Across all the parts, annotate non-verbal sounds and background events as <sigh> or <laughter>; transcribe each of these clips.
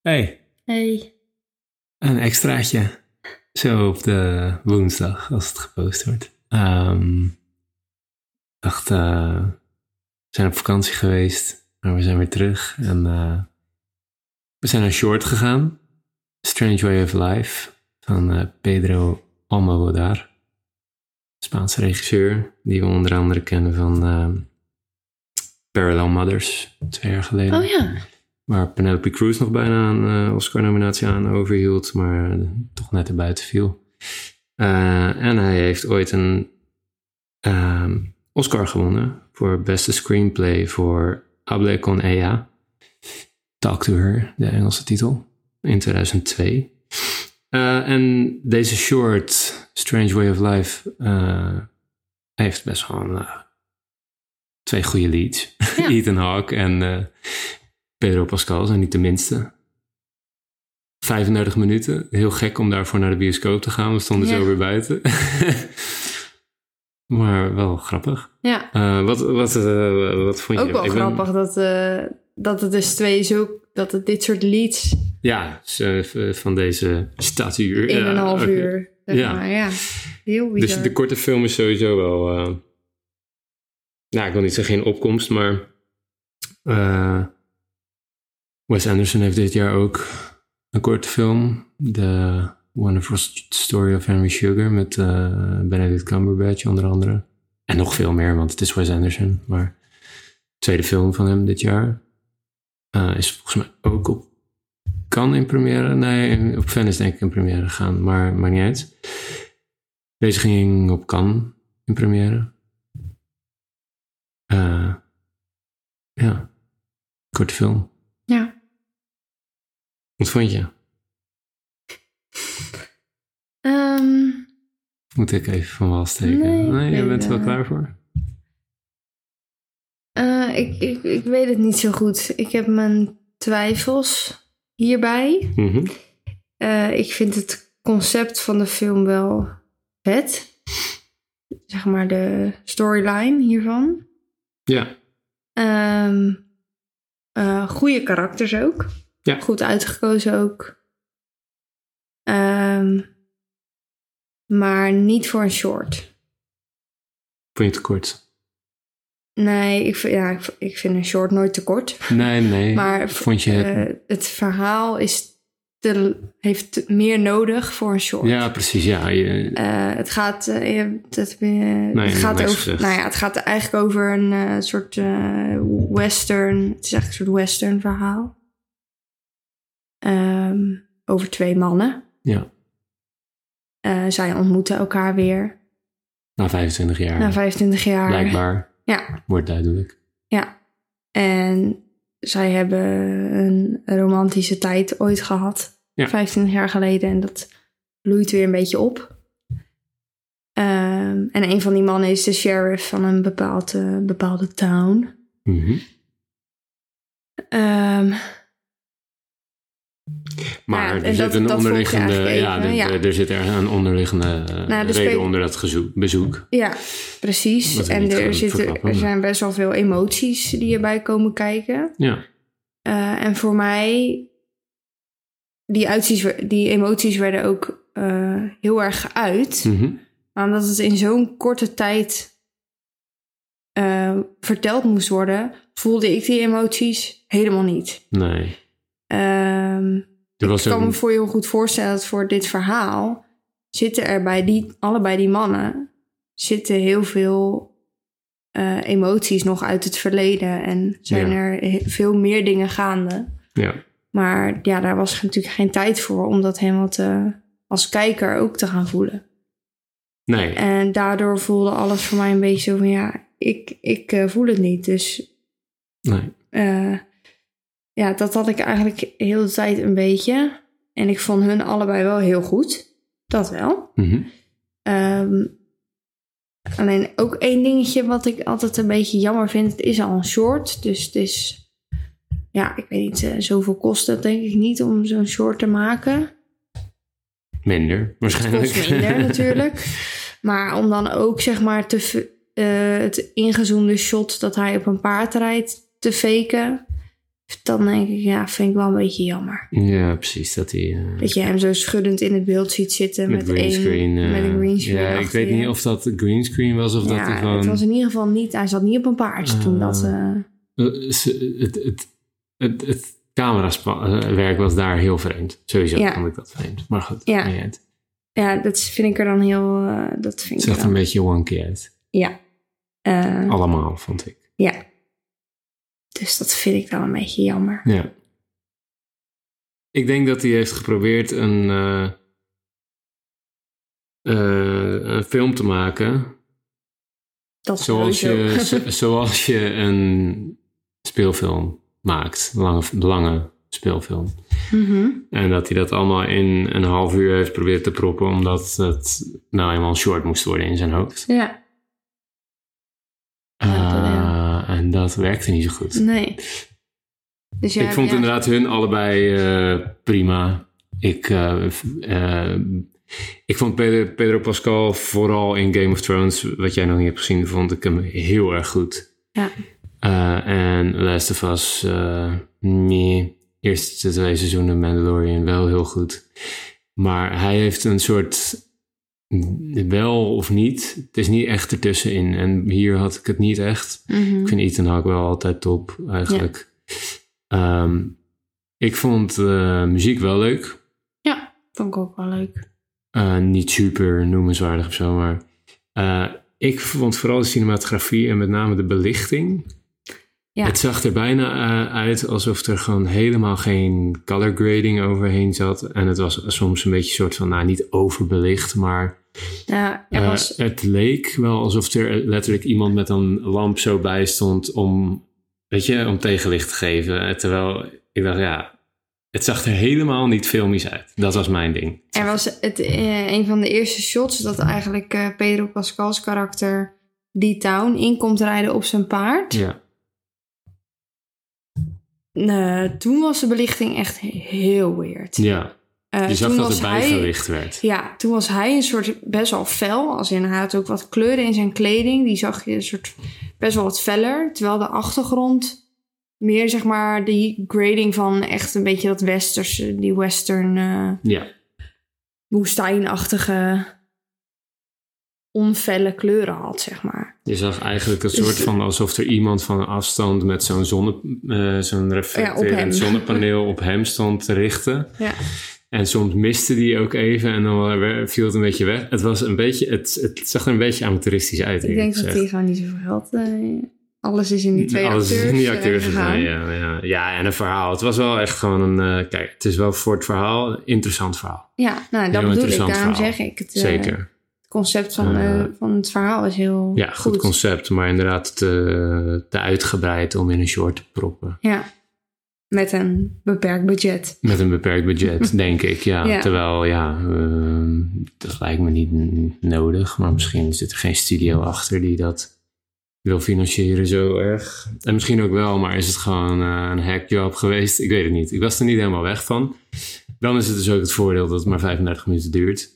Hey, Hey, een extraatje. Zo op de woensdag, als het gepost wordt. Ehm, dacht, eh, we zijn op vakantie geweest, maar we zijn weer terug. En eh, we zijn naar Short gegaan. Strange Way of Life van eh, Pedro Almodovar. Spaanse regisseur, die we onder andere kennen van ehm, Parallel Mothers, twee jaar geleden. oh ja. Waar Penelope Cruz nog bijna een eh, Oscar-nominatie aan overhield, maar eh, toch net erbuiten viel. Eh, en hij heeft ooit een ehm, Oscar gewonnen voor beste screenplay voor E Hable con ella. Talk to her, de Engelse titel, in 2002. Eh, en deze short, Strange Way of Life, eh, heeft best wel een, eh, twee goede leads. Ja. <laughs> Ethan Hawke en eh, Pedro Pascal zijn niet de minste. 35 minuten. Heel gek om daarvoor naar de bioscoop te gaan. We stonden Ja. zo weer buiten. <laughs> maar wel grappig. Ja, Eh, wat, wat, eh, wat vond je? ook wel Ik ben- grappig dat, eh, dat het dus twee zo... Dat het dit soort leads ja, ze- v- van deze statuur. in Ja, een half oké. uur, zeg Ja. maar. Ja, heel bizar. Dus de korte film is sowieso wel... eh, nou, ik wil niet zeggen geen opkomst, maar... eh, Wes Anderson heeft dit jaar ook een korte film. The Wonderful St- Story of Henry Sugar met eh, Benedict Cumberbatch onder andere. En nog veel meer, want het is Wes Anderson. Maar tweede film van hem dit jaar eh, is volgens mij ook op... Kan in première? Nee, in- op Venice denk ik in première gaan, maar maakt niet uit. Deze ging op Cannes in première. Eh, ja, korte film. Ja. Wat vond je? Ehm, Moet ik even van wal steken? Nee, je nee, bent er wel eh, klaar voor? eh, ik, ik, ik weet het niet zo goed. Ik heb mijn twijfels hierbij. Mhm. Eh, ik vind het concept van de film wel vet. Zeg maar de storyline hiervan. Ja, Ehm eh, goede karakters ook. Ja. Goed uitgekozen ook. Ehm, maar niet voor een short. vond je te kort? Nee, ik, vind- ja, ik, v- ik vind een short nooit te kort. Nee, nee. Maar v- vond je het... eh, het verhaal is te, heeft te- meer nodig voor een short. ja, precies. Ja, je- Eh, het gaat, eh, je- dat, eh, nog het gaat niks over, gezegd. nou ja, het gaat eigenlijk over een eh, soort eh, western, het is echt een soort western verhaal. Ehm, over twee mannen. Ja. Eh, zij ontmoeten elkaar weer na 25 jaar, na 25 jaar. blijkbaar, Ja, wordt duidelijk. ja. En zij hebben een romantische tijd ooit gehad, Ja. 25 jaar geleden, en dat bloeit weer een beetje op. Ehm, en een van die mannen is de sheriff van een bepaald, eh, bepaalde town. Nou Mhm. Ehm, Maar Ja, er en zit dat- een dat volg je onderliggende... eigenlijk Ja, even, er, ja. er- er zit er een onderliggende eh, Nou, er reden speelt- onder dat gezoek, bezoek. ja, Dat precies. we niet En gaan er, zitten, verklappen, er maar- zijn best wel veel emoties die erbij komen kijken. Ja, Eh, en voor mij, die, uitzies, die emoties werden ook eh, heel erg geuit. Mhm. Maar omdat het in zo'n korte tijd eh, verteld moest worden, voelde ik die emoties helemaal niet. nee. Ehm, Er was ik kan ook- me voor je heel goed voorstellen dat voor dit verhaal zitten er bij die, allebei die mannen zitten heel veel eh, emoties nog uit het verleden. En zijn Ja. er he- veel meer dingen gaande. ja. Maar ja, daar was natuurlijk geen tijd voor om dat helemaal te, als kijker ook te gaan voelen. Nee, En daardoor voelde alles voor mij een beetje zo van ja, ik, ik eh, voel het niet. Dus nee. eh, ja, dat had ik eigenlijk heel de tijd een beetje. En ik vond hun allebei wel heel goed. Dat wel. Mhm. Ehm, alleen ook één dingetje wat ik altijd een beetje jammer vind. Het is al een short, dus het is... Ja, ik weet niet, eh, zoveel kost het denk ik niet om zo'n short te maken. Minder, waarschijnlijk. <laughs> kost minder natuurlijk. Maar om dan ook zeg maar te, f- eh, het ingezoomde shot dat hij op een paard rijdt te faken, Dan denk ik, ja, vind ik wel een beetje jammer. Ja, precies. Dat hij eh, Dat je hem zo schuddend in het beeld ziet zitten met, met, green één- screen. eh, met een green screen ja, ik achter weet je. niet of dat green screen was of dat ja, hij gewoon. het was in ieder geval niet, hij zat niet op een paard toen Ah. dat... eh, Eh, ze- het, het, het, het camerawerk was daar heel vreemd. Sowieso Ja. vond ik dat vreemd. Maar goed, Ja. niet uit. ja, dat vind ik er dan heel... eh, dat het vind ik zag er een dan- beetje wonky uit. Ja. Eh, Allemaal, vond ik. Ja. Dus dat vind ik dan een beetje jammer. Ja. Ik denk dat hij heeft geprobeerd een, eh, eh, een film te maken. Dat Zoals je, sowieso. zo- zoals je een speelfilm maakt. Lange, lange speelfilm. <laughs> Mhm. En dat hij dat allemaal in een half uur heeft proberen te proppen, omdat het nou eenmaal short moest worden in zijn hoofd. Ja, Ja, dat, ja. Eh, En dat werkte niet zo goed. nee. Dus jij ik hebt- vond ja, inderdaad hun allebei eh, prima. Ik, eh, f- eh, ik vond Pedro, Pedro Pascal vooral in Game of Thrones, wat jij nog niet hebt gezien, vond ik hem heel erg goed. Ja. Eh, en Last of Us, eh, nee. Eerste twee seizoenen Mandalorian wel heel goed. Maar hij heeft een soort wel of niet. Het is niet echt ertussenin. En hier had ik het niet echt. mhm. Ik vind Ethan Hawke wel altijd top, eigenlijk. Ehm, ik vond eh, muziek wel leuk. Ja, vond ik ook wel leuk. Eh, niet super noemenswaardig of zo, maar... eh, ik vond vooral de cinematografie en met name de belichting. Ja. Het zag er bijna eh, uit alsof er gewoon helemaal geen color grading overheen zat. En het was soms een beetje een soort van, nou niet overbelicht, maar Ja, er eh, was, het leek wel alsof er letterlijk iemand met een lamp zo bij stond om, weet je, om tegenlicht te geven. Eh, Terwijl ik dacht, ja, het zag er helemaal niet filmisch uit. Dat was mijn ding. er was het, eh, een van de eerste shots dat eigenlijk eh, Pedro Pascal's karakter die town in komt rijden op zijn paard. Ja, Eh, toen was de belichting echt heel weird. ja. Eh, je zag toen dat was er hij- bijgelicht werd. Ja, toen was hij een soort best wel fel. Als in, hij had ook wat kleuren in zijn kleding. Die zag je een soort best wel wat feller. Terwijl de achtergrond meer zeg maar die grading van echt een beetje dat westerse, die western eh, Ja, woestijnachtige onfelle kleuren had, zeg maar. je zag eigenlijk een Dus- soort van alsof er iemand van een afstand met zo'n zonne, eh, zo'n hem. reflecterend zonnepaneel op hem stond te richten. Ja. En soms miste die ook even en dan weer- viel het een beetje weg. Het, was een beetje, het, het zag er een beetje amateuristisch uit. Ik eerlijk denk dat gezegd. hij gewoon niet zoveel had. eh, alles is in die twee Alles is acteurs. in die eh, acteurs gegaan. gegaan. Ja, ja, ja, en een verhaal. Het was wel echt gewoon een... eh, kijk, het is wel voor het verhaal een interessant verhaal. Ja, nou, dat Heel bedoel ik. interessant Daarom verhaal. zeg ik. Het, eh, Zeker. het concept van, Eh, eh, van het verhaal is heel Ja, goed, goed. concept. Maar inderdaad te, te uitgebreid om in een short te proppen. Ja. Met een beperkt budget. Met een beperkt budget, denk ik. Ja. Mhm. Ja. Terwijl, ja, ehm, dat lijkt me niet n- nodig. Maar misschien zit er geen studio achter die dat wil financieren zo erg. En misschien ook wel, maar is het gewoon eh, een hackjob geweest? Ik weet het niet. Ik was er niet helemaal weg van. Dan is het dus ook het voordeel dat het maar 35 minuten duurt.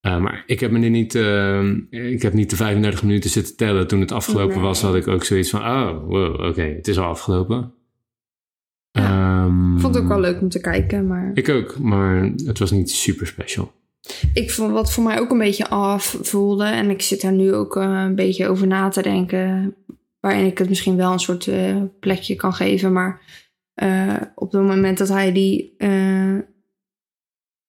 Eh, maar ik heb me nu niet, ehm, ik heb niet de 35 minuten zitten tellen. Toen het afgelopen Nee. was, had ik ook zoiets van, oh, wow, oké, het is al afgelopen. Ehm, Ik vond het ook wel leuk. leuk om te kijken, maar ik, Ik ook, maar het was niet super special. vond wat voor mij ook een beetje af voelde. En ik zit daar nu ook eh, een beetje over na te denken. Waarin ik het misschien wel een soort eh, plekje kan geven. Maar eh, op het moment dat hij die, eh,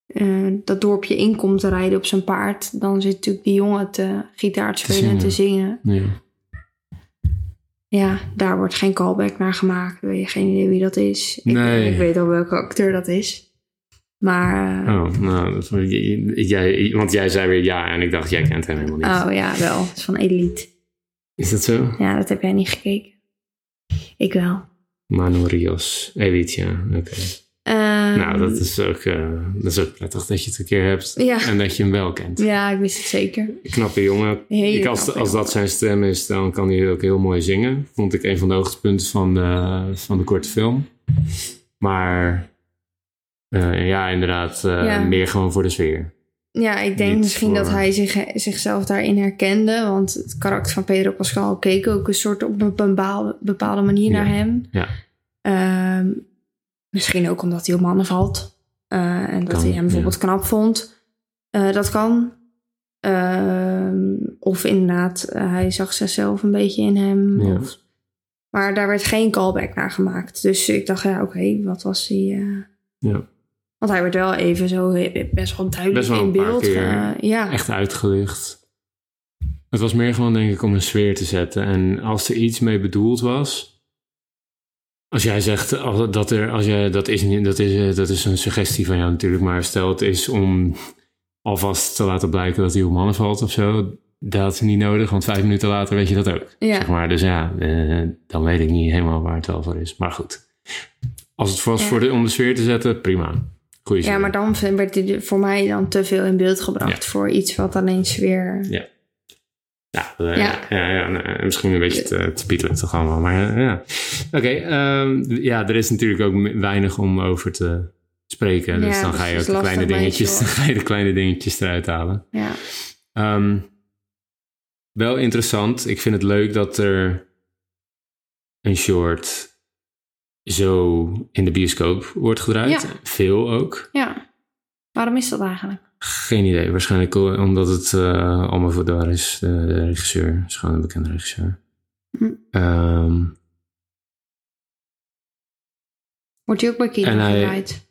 eh, dat dorpje in komt te rijden op zijn paard. Dan zit natuurlijk die jongen te gitaar te Te spelen en te zingen. Ja. Ja, daar wordt geen callback naar gemaakt. Ik weet geen idee wie dat is. Ik, eh, Nee. ik weet al welke acteur dat is. Maar, eh, Oh, nou, dat- j- jij, want jij zei weer ja en ik dacht, jij kent hem helemaal niet. oh. ja, wel. Het is van Elite. Is dat zo? Ja, dat heb jij niet gekeken. Ik wel. Manu Rios, Elite, ja. Oké. Ehm, nou, dat is, ook, eh, dat is ook prettig dat je het een keer hebt Ja, en dat je hem wel kent. ja ik wist het zeker. Knappe jongen. Hele Ik, als, knappe als dat zijn stem is, dan kan hij ook heel mooi zingen. Vond ik een van de hoogtepunten van de, van de korte film. Maar eh, ja, inderdaad, eh, Ja. meer gewoon voor de sfeer. Ja, ik denk Niet misschien dat voor- hij zich, zichzelf daarin herkende. Want het karakter van Pedro Pascal keek ook een soort op een bepaalde, bepaalde Ja. manier naar hem. Ja. Ehm, misschien ook omdat hij op mannen valt. eh, en dat Kan, hij hem bijvoorbeeld knap vond. Eh, dat kan. Ehm, of inderdaad, eh, hij zag zichzelf een beetje in hem. Ja. Of, maar daar werd geen callback naar gemaakt. Dus ik dacht, ja, oké, wat was hij... eh, Ja. Want hij werd wel even zo eh, best wel duidelijk Best wel in een paar beeld. keer. eh, ja. echt uitgelicht. Het was meer gewoon, denk ik, om een sfeer te zetten. En als er iets mee bedoeld was. Als jij zegt als- dat er. Als jij, dat, is, niet- dat, is, eh, dat is een suggestie van jou natuurlijk. Maar stel het is om alvast te laten blijken dat hij op mannen valt of zo. Dat is niet nodig, want vijf minuten later weet je dat ook. Ja. Zeg maar. Dus ja, eh, dan weet ik niet helemaal waar het wel voor is. Maar goed. Als het was Ja. voor de, om de sfeer te zetten, prima. Goeie Ja, sfeer. maar dan werd hij voor mij dan te veel in beeld gebracht voor iets wat dan eens weer... Ja, eh, Ja. ja. ja, nou, misschien een beetje te, te pieterig allemaal, maar eh, ja. Oké, ehm, ja, er is natuurlijk ook me- weinig om over te spreken. dus Ja, dan ga je dus ook de lastig kleine, meisje, dingetjes, hoor. <laughs> ga je de kleine dingetjes eruit halen. Ja, Ehm, wel interessant. Ik vind het leuk dat er een short zo in de bioscoop wordt gedraaid. Ja. Veel ook. ja. Waarom is dat eigenlijk? Geen idee. Waarschijnlijk omdat het eh allemaal voor daar is. De, de regisseur is gewoon een bekende regisseur. Hm. Ehm, Wordt hij ook bij En kinderen hij- gedraaid?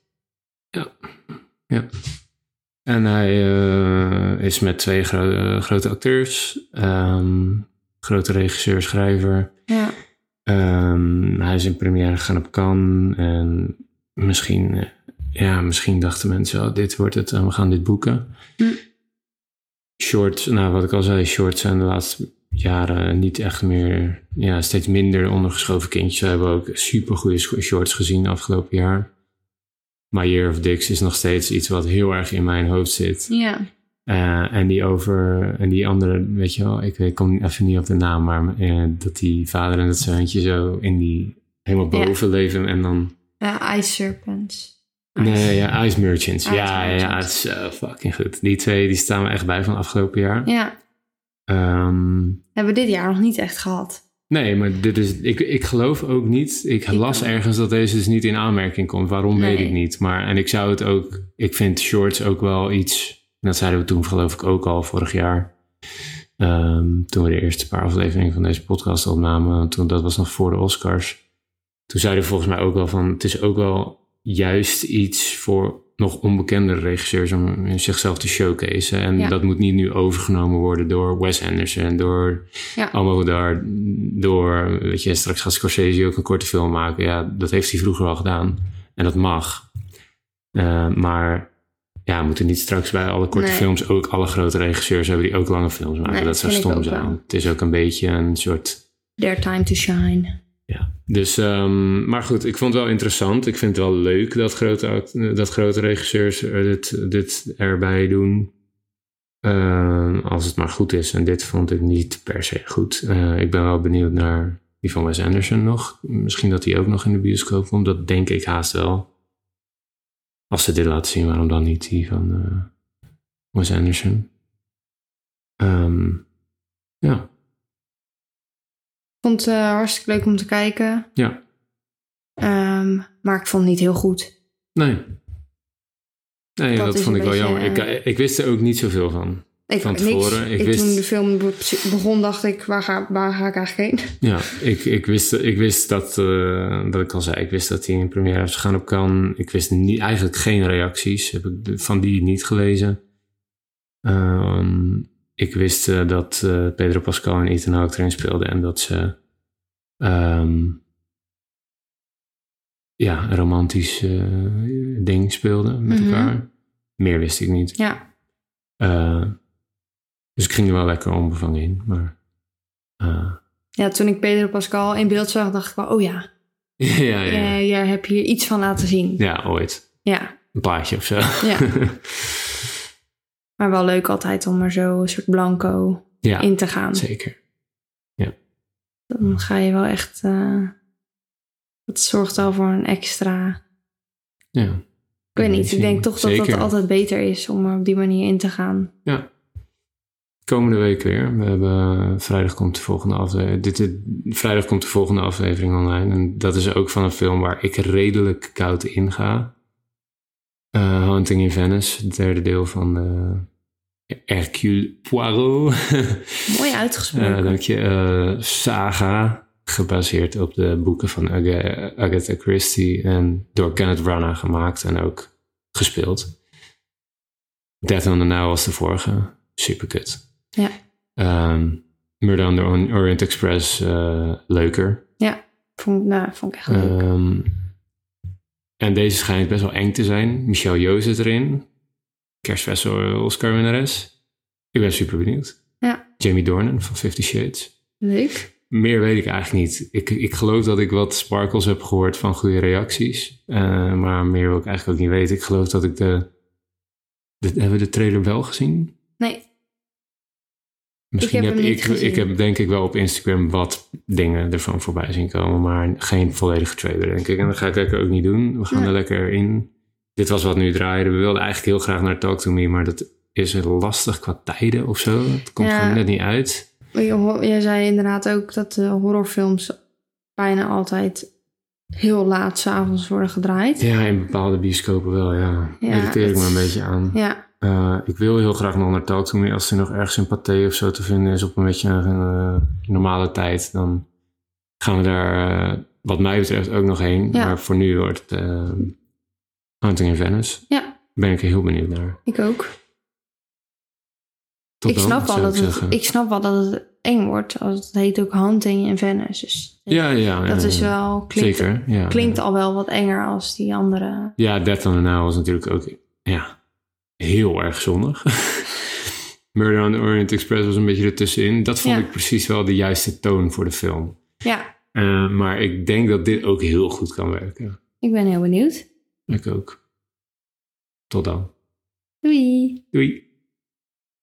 en hij eh, is met twee gro- eh, grote acteurs. ehm, grote regisseur, schrijver. Ja. Ehm, hij is in première gegaan op Cannes. En misschien, eh, ja, misschien dachten mensen, oh, dit wordt het en we gaan dit boeken. Hm. Shorts, nou wat ik al zei, shorts zijn de laatste jaren niet echt meer, ja, steeds minder ondergeschoven kindjes. We hebben ook supergoeie scho- shorts gezien afgelopen jaar. My Year of Dicks is nog steeds iets wat heel erg in mijn hoofd zit. Ja. Eh, en die over, en die andere, weet je wel, ik weet- kom even niet op de naam, maar eh, dat die vader en dat zoontje zo in die, helemaal Ja. boven leven en dan, ja. Ice Serpents. nee, ja, Ice Merchants. Ice ja, ja, ja, Merchants. zo fucking goed. Die twee, die staan we echt bij van afgelopen jaar. Ja. Ehm, Hebben we dit jaar nog niet echt gehad. nee, maar dit is, ik, ik geloof ook niet, ik, Ik las ook. ergens dat deze dus niet in aanmerking komt. Waarom weet Nee. ik niet, maar, en ik zou het ook, ik vind shorts ook wel iets, en dat zeiden we toen geloof ik ook al vorig jaar. Ehm, toen we de eerste paar afleveringen van deze podcast opnamen, want toen, dat was nog voor de Oscars. Toen zeiden we volgens mij ook wel van, het is ook wel juist iets voor nog onbekendere regisseurs om zichzelf te showcaseen. En Ja. dat moet niet nu overgenomen worden door Wes Anderson, door Ja. Almodovar, door, weet je, straks gaat Scorsese ook een korte film maken. Ja, dat heeft hij vroeger al gedaan. En dat mag. Eh, maar ja, we moeten niet straks bij alle korte Nee. films ook alle grote regisseurs hebben die ook lange films maken. Nee, dat zou vind ik stom ook zijn. wel. Het is ook een beetje een soort. Their Time to Shine. Ja. Dus, ehm, maar goed, ik vond het wel interessant. Ik vind het wel leuk dat grote, act- dat grote regisseurs er dit, dit erbij doen. Ehm, als het maar goed is. En dit vond ik niet per se goed. Eh, ik ben wel benieuwd naar die van Wes Anderson nog. Misschien dat die ook nog in de bioscoop komt. Dat denk ik haast wel. Als ze dit laten zien, waarom dan niet die van eh, Wes Anderson? Ehm, ja, Vond het eh, hartstikke leuk om te kijken. Ja. Ehm, maar ik vond het niet heel goed. nee. Nee, Dat dat, is vond een ik wel beetje, eh, jammer. Ik, eh, ik wist er ook niet zoveel van. Ik, Van niks. tevoren, ik wist- Toen de film be- begon dacht ik, waar ga, waar ga ik eigenlijk heen? <laughs> Ja, ik, ik, wist, ik wist dat, eh, dat ik al zei, ik wist dat hij in première was gegaan op Cannes. Ik wist niet, eigenlijk geen reacties, heb ik de- van die niet gelezen. Ehm, ik wist eh, dat eh, Pedro Pascal en Ethan Hawke erin speelden en dat ze ehm, ja, een romantisch eh, ding speelden met Mhm. elkaar. Meer wist ik niet. Ja. Eh, dus ik ging er wel lekker onbevangen in, maar... eh, Ja, toen ik Pedro Pascal in beeld zag, dacht ik wel, oh ja, <laughs> ja, ja, ja. eh, jij hebt hier iets van laten zien. Ja, ooit. Ja, Een plaatje of zo. Ja. maar wel leuk altijd om er zo een soort <laughs> blanco Ja, in te gaan. zeker. Dan ga je wel echt. eh, dat zorgt al voor een extra. Ja. Ik weet niet. Ik Amazing. denk toch dat Zeker. dat altijd beter is om er op die manier in te gaan. Ja. komende week weer. We hebben, eh, vrijdag, komt de volgende aflevering, dit, dit- vrijdag komt de volgende aflevering online. En dat is ook van een film waar ik redelijk koud in ga. Eh, Haunting in Venice, het derde deel van eh, Hercule Poirot. <laughs> Mooi Eh, uitgesproken. dank je. Eh, saga, gebaseerd op de boeken van Aga- Agatha Christie en door Kenneth Branagh gemaakt en ook gespeeld. Death on the Nile was de vorige. Superkut. Ja. Ehm, Murder on the Orient- Orient Express, eh, leuker. vond, nou, vond ik echt leuk. Ehm, en deze schijnt best wel eng te zijn. Michel Yeoh zit erin. Kerstfestival Oscar winnares. Ik ben super benieuwd. Ja. Jamie Dornan van Fifty Shades. leuk. Meer weet ik eigenlijk niet. Ik, ik geloof dat ik wat sparkles heb gehoord van goede reacties. Eh, maar meer wil ik eigenlijk ook niet weten. Ik geloof dat ik de, de... Hebben we de trailer wel gezien? Nee, Misschien heb heb, hem niet ik... gezien. Ik heb denk ik wel op Instagram wat dingen ervan voorbij zien komen. Maar geen volledige trailer denk ik. En dat ga ik lekker ook niet doen. We gaan Nee. er lekker in. Dit was wat nu draaide. We wilden eigenlijk heel graag naar Talk To Me. Maar dat is lastig qua tijden of zo. Het komt Ja. gewoon net niet uit. je ho- jij zei inderdaad ook dat de horrorfilms bijna altijd heel laat s'avonds worden gedraaid. Ja, in bepaalde bioscopen wel, ja. Ja, Irriteer ik me het- een beetje aan. Ja, Eh, ik wil heel graag nog naar Talk To Me. Als er nog ergens een paté of zo te vinden is op een beetje een eh, normale tijd, dan gaan we daar eh, wat mij betreft ook nog heen. Ja. Maar voor nu wordt het eh, Hunting in Venice. Ja. Ben ik er heel benieuwd naar. ik ook. Tot ik, dan, snap wel zou dat ik het, zeggen. ik snap wel dat het eng wordt. Als het heet ook Hunting in Venice. Dus ja, ja, dat ja, is ja. wel, klinkt, Zeker, ja. klinkt al wel wat enger als die andere. Ja, Death on the Nile was natuurlijk ook ja, heel erg zonnig. <laughs> Murder on the Orient Express was een beetje ertussenin. Dat vond Ja. ik precies wel de juiste toon voor de film. Ja, Eh, maar ik denk dat dit ook heel goed kan werken. ik ben heel benieuwd. Ik ook. Tot dan. Doei! Doei.